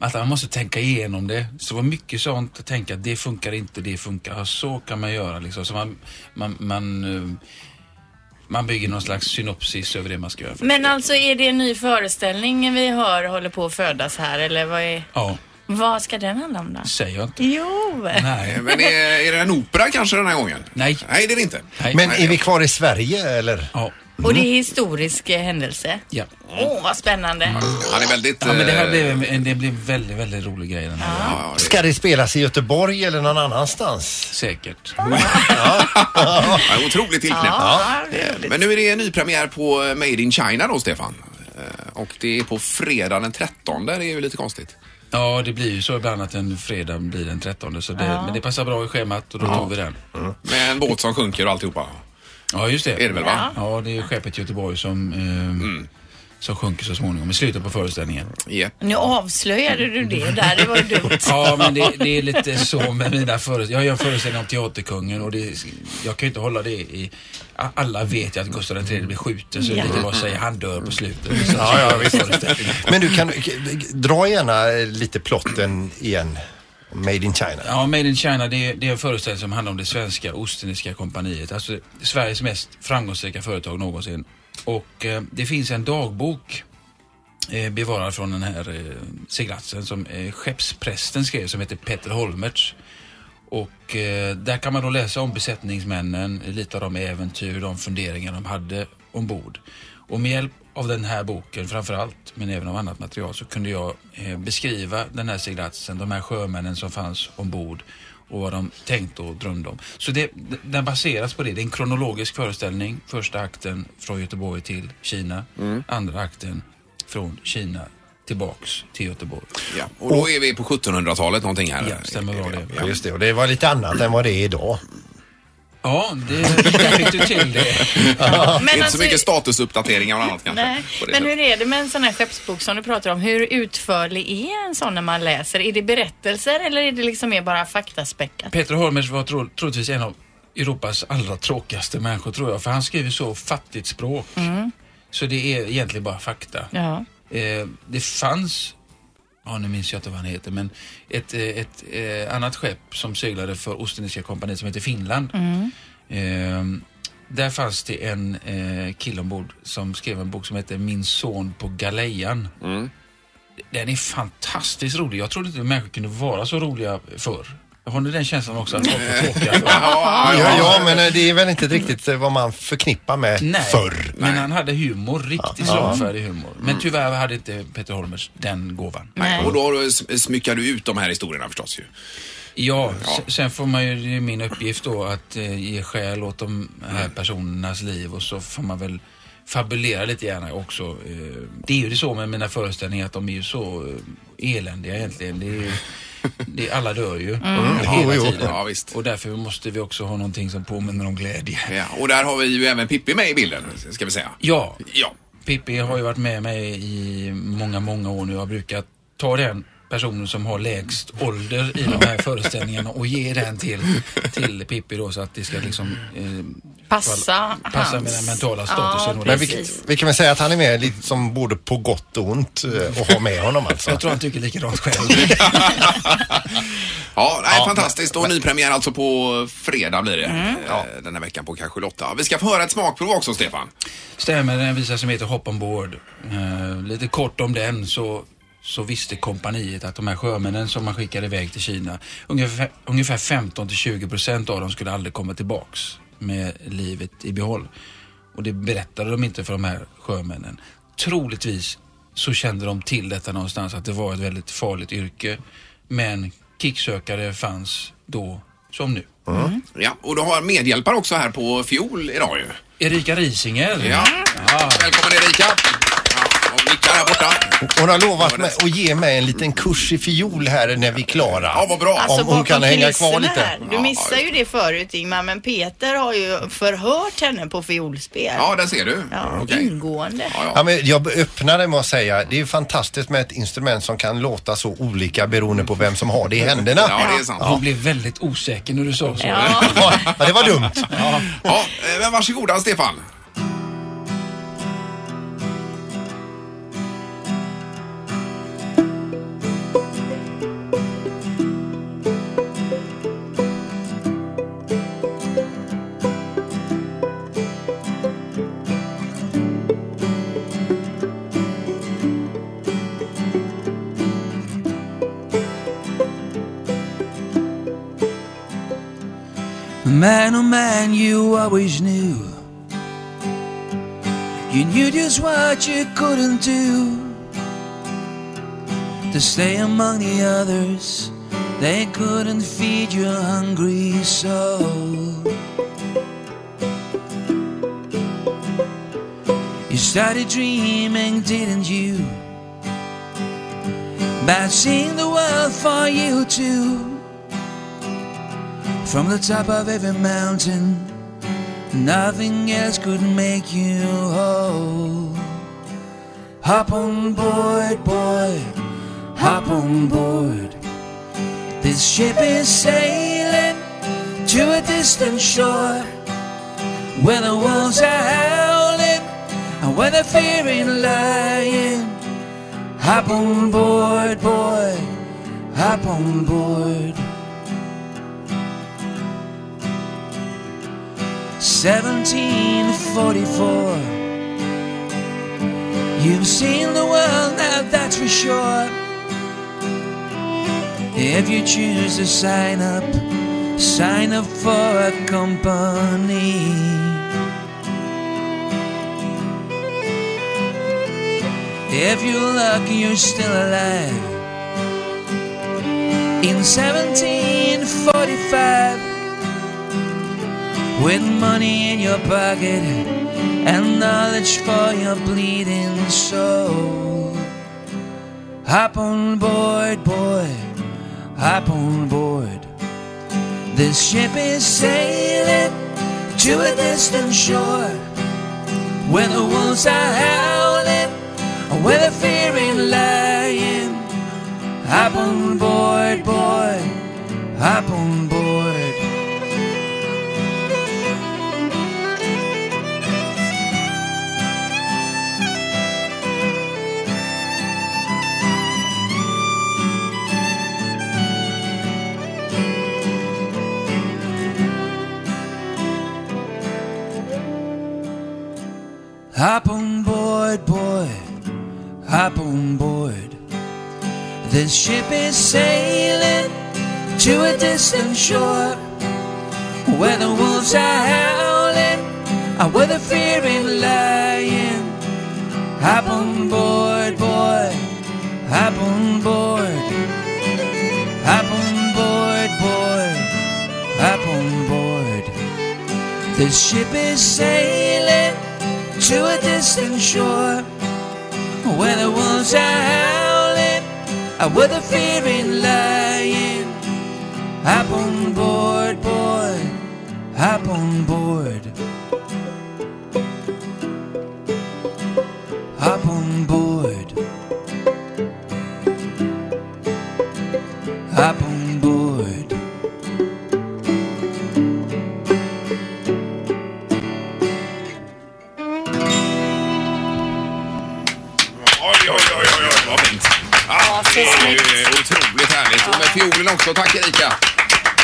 Speaker 6: att man måste tänka igenom det. Så det var mycket sånt att tänka att det funkar inte, det funkar. Ja, så kan man göra liksom. Så man, man, man, eh, man bygger någon slags synopsis över det man ska göra. först.
Speaker 4: Men alltså, är det en ny föreställning vi hör håller på att födas här eller vad, är,
Speaker 6: Ja,
Speaker 4: vad ska den handla om då?
Speaker 6: säger jag inte.
Speaker 4: Jo!
Speaker 6: Nej.
Speaker 3: Men är, är det en opera kanske den här gången?
Speaker 6: Nej.
Speaker 3: Nej, det är det inte.
Speaker 6: Nej.
Speaker 5: Men är vi kvar i Sverige eller?
Speaker 6: Ja.
Speaker 4: Och det är historisk eh, händelse.
Speaker 6: Ja.
Speaker 3: Mm.
Speaker 4: Åh, vad spännande.
Speaker 3: Han är väldigt...
Speaker 6: ja, men det här
Speaker 3: eh,
Speaker 6: blev en, det blev en väldigt, väldigt rolig grej den här gången.
Speaker 5: Ska det spelas i Göteborg eller någon annanstans?
Speaker 6: Säkert.
Speaker 3: ja, otroligt tillknäppt.
Speaker 4: Ja, det är
Speaker 3: Men nu är det en ny premiär på eh, Made in China då, Stefan. Eh, Och det är på fredag den 13. Det är ju lite konstigt.
Speaker 6: Ja, det blir ju så ibland att en fredag blir den 13. Så det, Men det passar bra i schemat och då tar vi den.
Speaker 3: Med en båt som sjunker och alltihopa.
Speaker 6: Ja, just det.
Speaker 3: Är det väl, va? Mm.
Speaker 6: Ja, det är ju skeppet Göteborg som, eh, som sjunker så småningom i slutet på föreställningen.
Speaker 3: Yep.
Speaker 4: Nu avslöjade du det där, det var ju dumt.
Speaker 6: Ja, men det, det är lite så med mina föreställningar. Jag gör en föreställning om Teaterkungen och det, jag kan ju inte hålla det i... a- Alla vet ju att Gustav III blir skjuten så det är lite bara att säga han dör på slutet. Så, ja, ja,
Speaker 5: Men du kan dra gärna eh, lite plotten igen. Made in China.
Speaker 6: Ja, Made in China det är, det är en föreställning som handlar om det svenska Ostindiska kompaniet. Alltså Sveriges mest framgångsrika företag någonsin. Och eh, det finns en dagbok eh, bevarad från den här eh, seglatsen som eh, skeppsprästen skrev som heter Petter Holmertz. Och eh, där kan man då läsa om besättningsmännen, lite av de äventyr, de funderingar de hade ombord. Och med hjälp av den här boken framför allt, men även av annat material, så kunde jag eh, beskriva den här seglatsen, de här sjömännen som fanns ombord och vad de tänkte och drömde om. Så det, d- den baseras på det. Det är en kronologisk föreställning. Första akten från Göteborg till Kina. Andra akten från Kina tillbaks till Göteborg.
Speaker 3: Ja. Och då är vi på 1700-talet någonting här.
Speaker 6: Ja, stämmer bra det.
Speaker 5: Ja, just det. Och det var lite annat än vad det är idag.
Speaker 6: Ja, det, där fick du till det.
Speaker 3: Ja,
Speaker 4: Men
Speaker 3: inte
Speaker 4: alltså-
Speaker 3: så mycket statusuppdateringar och annat kanske.
Speaker 4: Nej.
Speaker 3: på det
Speaker 4: Men
Speaker 3: sättet.
Speaker 4: hur är det med en sån här skeppsbok som du pratar om? Hur utförlig är en sån när man läser? Är det berättelser eller är det liksom mer bara faktaspäckat?
Speaker 6: Peter Holmers var tro, troligtvis en av Europas allra tråkigaste människor tror jag, för han skriver så fattigt språk.
Speaker 4: Mm.
Speaker 6: Så det är egentligen bara fakta.
Speaker 4: Ja.
Speaker 6: Eh, det fanns, ja nu minns jag inte vad han heter, men ett, eh, ett eh, annat skepp som seglade för Ostindiska kompaniet som heter Finland.
Speaker 12: Mm.
Speaker 6: Eh, där fanns det en eh, kille ombord som skrev en bok som heter Min son på galejan.
Speaker 5: Mm.
Speaker 6: Den är fantastiskt rolig. Jag trodde inte människor kunde vara så roliga förr. Har ni den känslan också? Att folk var tråkiga förr?
Speaker 5: Ja, ja, men eh, det är väl inte riktigt eh, vad man förknippar med
Speaker 6: Nej,
Speaker 5: förr.
Speaker 6: men han hade humor, riktigt
Speaker 5: Ja.
Speaker 6: slagfärdig humor. Men
Speaker 3: Mm.
Speaker 6: tyvärr hade inte Peter Holmers den gåvan.
Speaker 3: Nej. Och då har du- sm- smyckar du ut de här historierna förstås ju.
Speaker 6: Ja, se- sen får man ju, det är min uppgift då att eh, ge skäl åt de
Speaker 3: Mm.
Speaker 6: här personernas liv och så får man väl fabulera lite gärna också. Eh, det är ju det så med mina föreställningar att de är ju så eh, eländiga egentligen. Det är ju, det, alla dör ju
Speaker 3: Jo,
Speaker 6: hela
Speaker 3: jo.
Speaker 6: tiden.
Speaker 3: Mm. Ja,
Speaker 6: Och därför måste vi också ha någonting som påminner om glädje.
Speaker 3: Ja, och där har vi ju även Pippi med i bilden, ska vi säga.
Speaker 6: Ja.
Speaker 3: ja.
Speaker 6: Pippi har ju varit med mig i många, många år nu. Jag brukar ta den personen som har lägst ålder i de här föreställningarna och ge den till, till Pippi då så att det ska liksom eh,
Speaker 4: Passa
Speaker 6: fall- passa
Speaker 4: hans-
Speaker 6: med den mentala statusen.
Speaker 4: Ja,
Speaker 6: och
Speaker 5: Men
Speaker 6: det.
Speaker 5: vi, vi kan väl säga att han är med lite som både på gott och ont eh, och ha med honom alltså.
Speaker 6: Jag tror han tycker likadant själv.
Speaker 3: Ja, nej, fantastiskt. Och nypremiär alltså på fredag blir det. Ja. Den här veckan på kanske Lotta. Vi ska få höra ett smakprov också, Stefan.
Speaker 6: Stämmer en visa som heter Hop on board. Eh, lite kort om den så, så visste kompaniet att de här sjömännen som man skickade iväg till Kina, ungefär, ungefär 15 till 20 procent av dem skulle aldrig komma tillbaks med livet i behåll. Och det berättade de inte för de här sjömännen. Troligtvis så kände de till detta någonstans att det var ett väldigt farligt yrke. Men kicksökare fanns då som nu.
Speaker 5: Mm.
Speaker 3: Ja, och du har en medhjälpare också här på fiol idag ju.
Speaker 6: Erika Risinger.
Speaker 3: Mm. Ja. Välkommen Erika! Ja, och Micke här borta.
Speaker 5: Hon har lovat mig att ge mig en liten kurs i fiol här när vi är klara. Ja,
Speaker 3: vad bra.
Speaker 5: Om hon
Speaker 4: bakom
Speaker 5: kan hänga kvar
Speaker 4: Alltså, kulisserna
Speaker 5: lite.
Speaker 4: Här. Du missar ju det förut Ingmar, men Peter har ju förhört henne på fiolspel.
Speaker 5: Ja, där ser du.
Speaker 4: Ja,
Speaker 5: Okej.
Speaker 4: Ingående.
Speaker 5: Ja, men jag öppnade med att säga, det är fantastiskt med ett instrument som kan låta så olika beroende på vem som har det i händerna.
Speaker 3: Ja, det är sant.
Speaker 6: Hon blev väldigt osäker när du sa så.
Speaker 5: Ja, det var dumt.
Speaker 3: Ja. ja, eh, men varsågoda Stefan.
Speaker 12: A man, oh man, you always knew. You knew just what you couldn't do to stay among the others. They couldn't feed your hungry soul. You started dreaming, didn't you? About seeing the world for you too. From the top of every mountain, nothing else could make you whole. Hop on board, boy, hop on board. This ship is sailing to a distant shore where the wolves are howling and where the fearing lion. Hop on board, boy, hop on board. Seventeen forty-four. You've seen the world now, that's for sure. If you choose to sign up, sign up for a company. If you're lucky, you're still alive. In 1745, with money in your pocket and knowledge for your bleeding soul. Hop on board, boy, hop on board. This ship is sailing to a distant shore where the wolves are howling or where the fearing lion. Hop on board, boy, hop on board. Hop on board, boy, hop on board. This ship is sailing to a distant shore where the wolves are howling, uh, and where the fearing lion. Hop on board, boy, hop on board. Hop on board, boy, hop on board. This ship is sailing to a distant shore where the wolves are howling and where the fearing lion. Hop on board, boy, hop on board. Hop on board. Hop on board.
Speaker 3: Oj, oj, oj, oj, oj vad fint. Ah, Ja, det är ju otroligt härligt. Och med fiolen också. Tack Erika.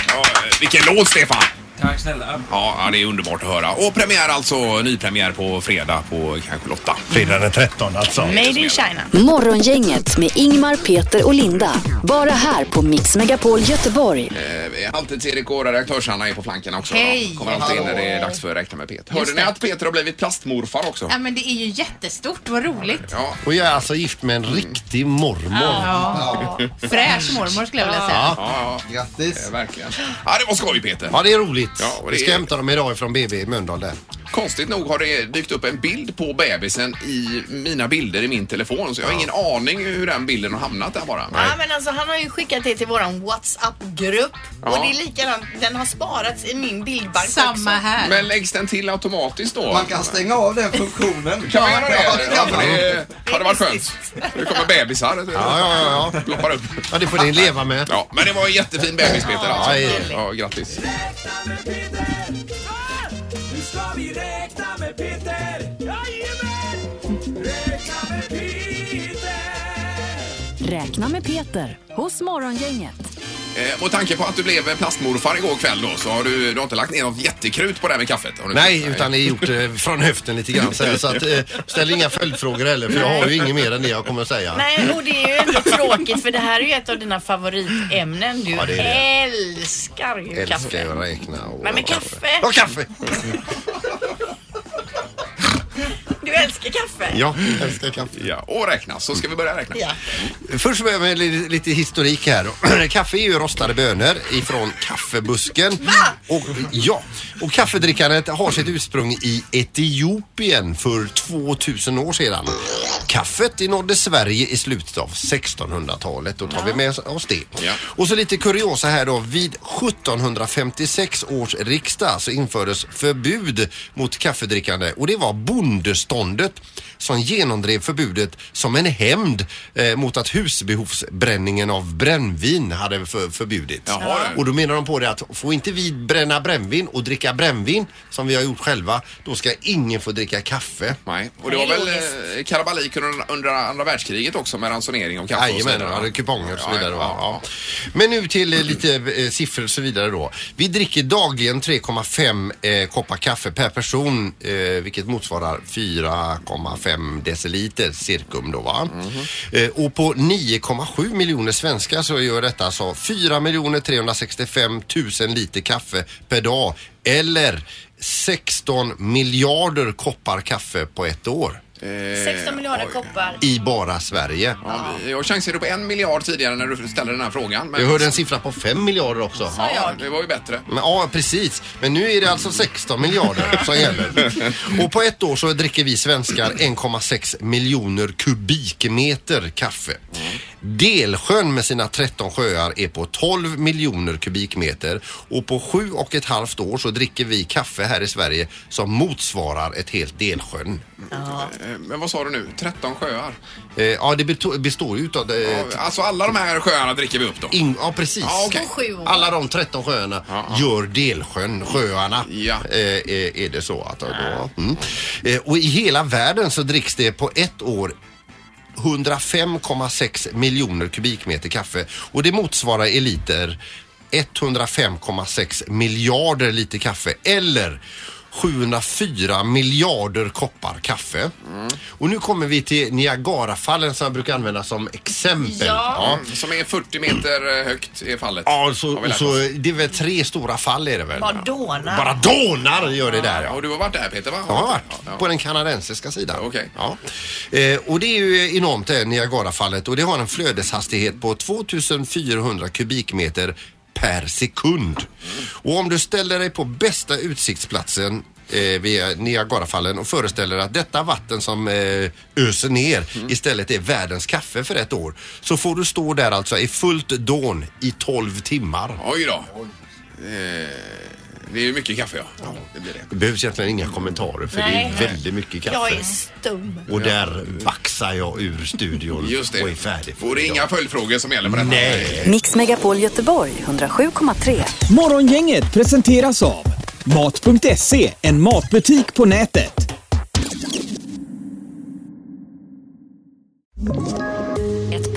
Speaker 3: Ja, eh, vilken låt Stefan.
Speaker 6: Tack snälla.
Speaker 3: Ja, ja, det är underbart att höra. Och premiär alltså, nypremiär på fredag på kanske Lotta.
Speaker 13: Fredag den 13 alltså.
Speaker 4: Made in China.
Speaker 1: Morgongänget med Ingmar, Peter och Linda. Bara här på Mix Megapol Göteborg.
Speaker 3: Eh, Halvtids-Erik och redaktörs-Hanna är på flanken också.
Speaker 10: Hej.
Speaker 3: De Kommer alltid in när det är dags för att räkna med Peter. Hörde ni att Peter har blivit plastmorfar också?
Speaker 10: Ja, men det är ju jättestort. Vad roligt.
Speaker 3: Ja.
Speaker 5: Och jag är alltså gift med en riktig mormor.
Speaker 10: Ja. Fräsch mormor skulle jag vilja säga.
Speaker 5: Ja.
Speaker 9: Grattis.
Speaker 3: verkligen. Ja, det var skoj Peter.
Speaker 5: Ja, det är roligt.
Speaker 3: Ja, och det
Speaker 5: Vi ska
Speaker 3: är-
Speaker 5: hämta dem idag från BB i Mölndal där.
Speaker 3: Konstigt nog har det dykt upp en bild på bebisen i mina bilder i min telefon så jag har ingen aning hur den bilden har hamnat där bara.
Speaker 4: Ja, men alltså, han har ju skickat det till våran WhatsApp-grupp.
Speaker 3: Ja.
Speaker 4: Och det är likadant, den har sparats i min bildbank
Speaker 10: Samma
Speaker 4: också.
Speaker 10: här.
Speaker 3: Men läggs den till automatiskt då?
Speaker 9: Man kan stänga av den funktionen.
Speaker 3: Kan man göra det?
Speaker 9: Ja, det kan man.
Speaker 3: det hade varit skönt. Nu kommer bebisar. Ja,
Speaker 5: ja,
Speaker 3: ja. Ploppar upp.
Speaker 5: Ja, det får ni leva med.
Speaker 3: Ja, men det var en jättefin bebis Peter alltså.
Speaker 5: Ja, ja,
Speaker 3: Ja, grattis.
Speaker 12: Nu ska vi räkna med Peter! Jajamän! Räkna med Peter!
Speaker 1: Räkna med Peter hos Morgongänget.
Speaker 3: Eh, och tanke på att du blev plastmorfar igår kväll då så har du, du har inte lagt ner något jättekrut på det här med kaffet? Har du
Speaker 5: Nej,
Speaker 3: inte?
Speaker 5: utan det är gjort eh, från höften lite grann så, här, så att, eh, ställ inga följdfrågor heller för jag har ju inget mer än det jag kommer att säga.
Speaker 4: Nej, och det är ju ändå tråkigt för det här är ju ett av dina favoritämnen. Du
Speaker 5: Ja, det är det.
Speaker 4: älskar ju
Speaker 5: Älskar
Speaker 4: kaffe.
Speaker 5: jag räkna och...
Speaker 4: Men med kaffe!
Speaker 5: Ja, kaffe!
Speaker 4: Du älskar kaffe!
Speaker 5: Ja, älskar kaffe.
Speaker 3: Ja, och räkna. Så ska vi börja räkna.
Speaker 4: Ja.
Speaker 5: Först börjar vi med li- lite historik här. Kaffe är ju rostade bönor ifrån kaffebusken. Och, ja, och kaffedrickandet har sitt ursprung i Etiopien för 2000 år sedan. Kaffet det nådde Sverige i slutet av 1600-talet. Då tar vi med oss det.
Speaker 3: Ja.
Speaker 5: Och så lite kuriosa här då. Vid 1756 års riksdag så infördes förbud mot kaffedrickande och det var bondeståndet som genomdrev förbudet som en hämnd eh, mot att husbehovsbränningen av brännvin hade för, förbjudits.
Speaker 3: Jaha, du.
Speaker 5: Och då menar de på det att får inte vi bränna brännvin och dricka brännvin som vi har gjort själva, då ska ingen få dricka kaffe.
Speaker 3: Nej, och det var
Speaker 4: Nej,
Speaker 3: väl
Speaker 4: logiskt.
Speaker 3: eh, kalabalik under, under andra världskriget också med ransonering och kaffe och så
Speaker 5: Jajamän,
Speaker 3: vidare.
Speaker 5: han hade kuponger och så
Speaker 3: Ja,
Speaker 5: vidare.
Speaker 3: ja,
Speaker 5: va?
Speaker 3: ja.
Speaker 5: Ja. Men nu till eh, lite eh, siffror och så vidare då. Vi dricker dagligen 3,5 eh, koppar kaffe per person eh, vilket motsvarar 4,5 deciliter cirkum då va.
Speaker 3: Mhm.
Speaker 5: Eh, och på 9,7 miljoner svenskar så gör detta alltså 4 365 000 liter kaffe per dag eller 16 miljarder koppar kaffe på ett år
Speaker 4: 16 miljarder koppar.
Speaker 5: i bara Sverige.
Speaker 3: Ja, vi- jag chansade på en miljard tidigare när du ställde den här frågan. Men
Speaker 5: Jag hörde en siffra på 5 miljarder också.
Speaker 3: ja, det var ju bättre.
Speaker 5: Men, ja, precis. Men nu är det alltså 16 miljarder som gäller. Och på ett år så dricker vi svenskar 1,6 miljoner kubikmeter kaffe. Delsjön med sina 13 sjöar är på 12 miljoner kubikmeter och på sju och ett halvt år så dricker vi kaffe här i Sverige som motsvarar ett helt Delsjön.
Speaker 3: Eh, Men vad sa du nu? 13 sjöar?
Speaker 5: Eh, Ja, det beto- består ju utav... eh,
Speaker 3: Ja, Alltså alla de här sjöarna dricker vi upp då?
Speaker 5: In, ja, precis.
Speaker 3: Ja, okej.
Speaker 5: Alla de 13 sjöarna gör Delsjön, sjöarna. Eh, eh, är det så att då, mm. eh, Och i hela världen så dricks det på ett år 105,6 miljoner kubikmeter kaffe och det motsvarar i liter 105,6 miljarder liter kaffe eller 704 miljarder koppar kaffe.
Speaker 3: Mm.
Speaker 5: Och nu kommer vi till Niagarafallen som jag brukar använda som exempel. Ja.
Speaker 3: Mm, Som är 40 meter eh, högt är fallet.
Speaker 5: Ja, så,
Speaker 3: Har vi lärt
Speaker 5: så
Speaker 3: oss.
Speaker 5: det är väl tre stora fall är det väl?
Speaker 4: Bara dånar.
Speaker 5: Bara dånar gör det där
Speaker 3: Ja,
Speaker 5: ja.
Speaker 3: och du har varit där Peter va?
Speaker 5: Jag har varit
Speaker 3: Ja.
Speaker 5: på den kanadensiska sidan. Ja. Eh, och det är ju enormt det här Niagarafallet och det har en flödeshastighet på 2400 kubikmeter per sekund. Och om du ställer dig på bästa utsiktsplatsen eh, vid Niagarafallen och föreställer att detta vatten som eh, öser ner
Speaker 3: Mm.
Speaker 5: istället är världens kaffe för ett år så får du stå där alltså i fullt dån i 12 timmar.
Speaker 3: Oj då. Eh, Det är ju mycket kaffe ja. Det blir det.
Speaker 5: Det behövs egentligen inga kommentarer för
Speaker 4: Nej.
Speaker 5: det är väldigt mycket kaffe.
Speaker 4: Jag är stum.
Speaker 5: Och där baxar jag ur studion
Speaker 3: Just det.
Speaker 5: och är färdig.
Speaker 3: Och det är inga följdfrågor som gäller på detta?
Speaker 5: Nej.
Speaker 1: Mix Megapol Göteborg 107,3.
Speaker 2: Morgongänget presenteras av Mat.se, en matbutik på nätet.
Speaker 13: Ett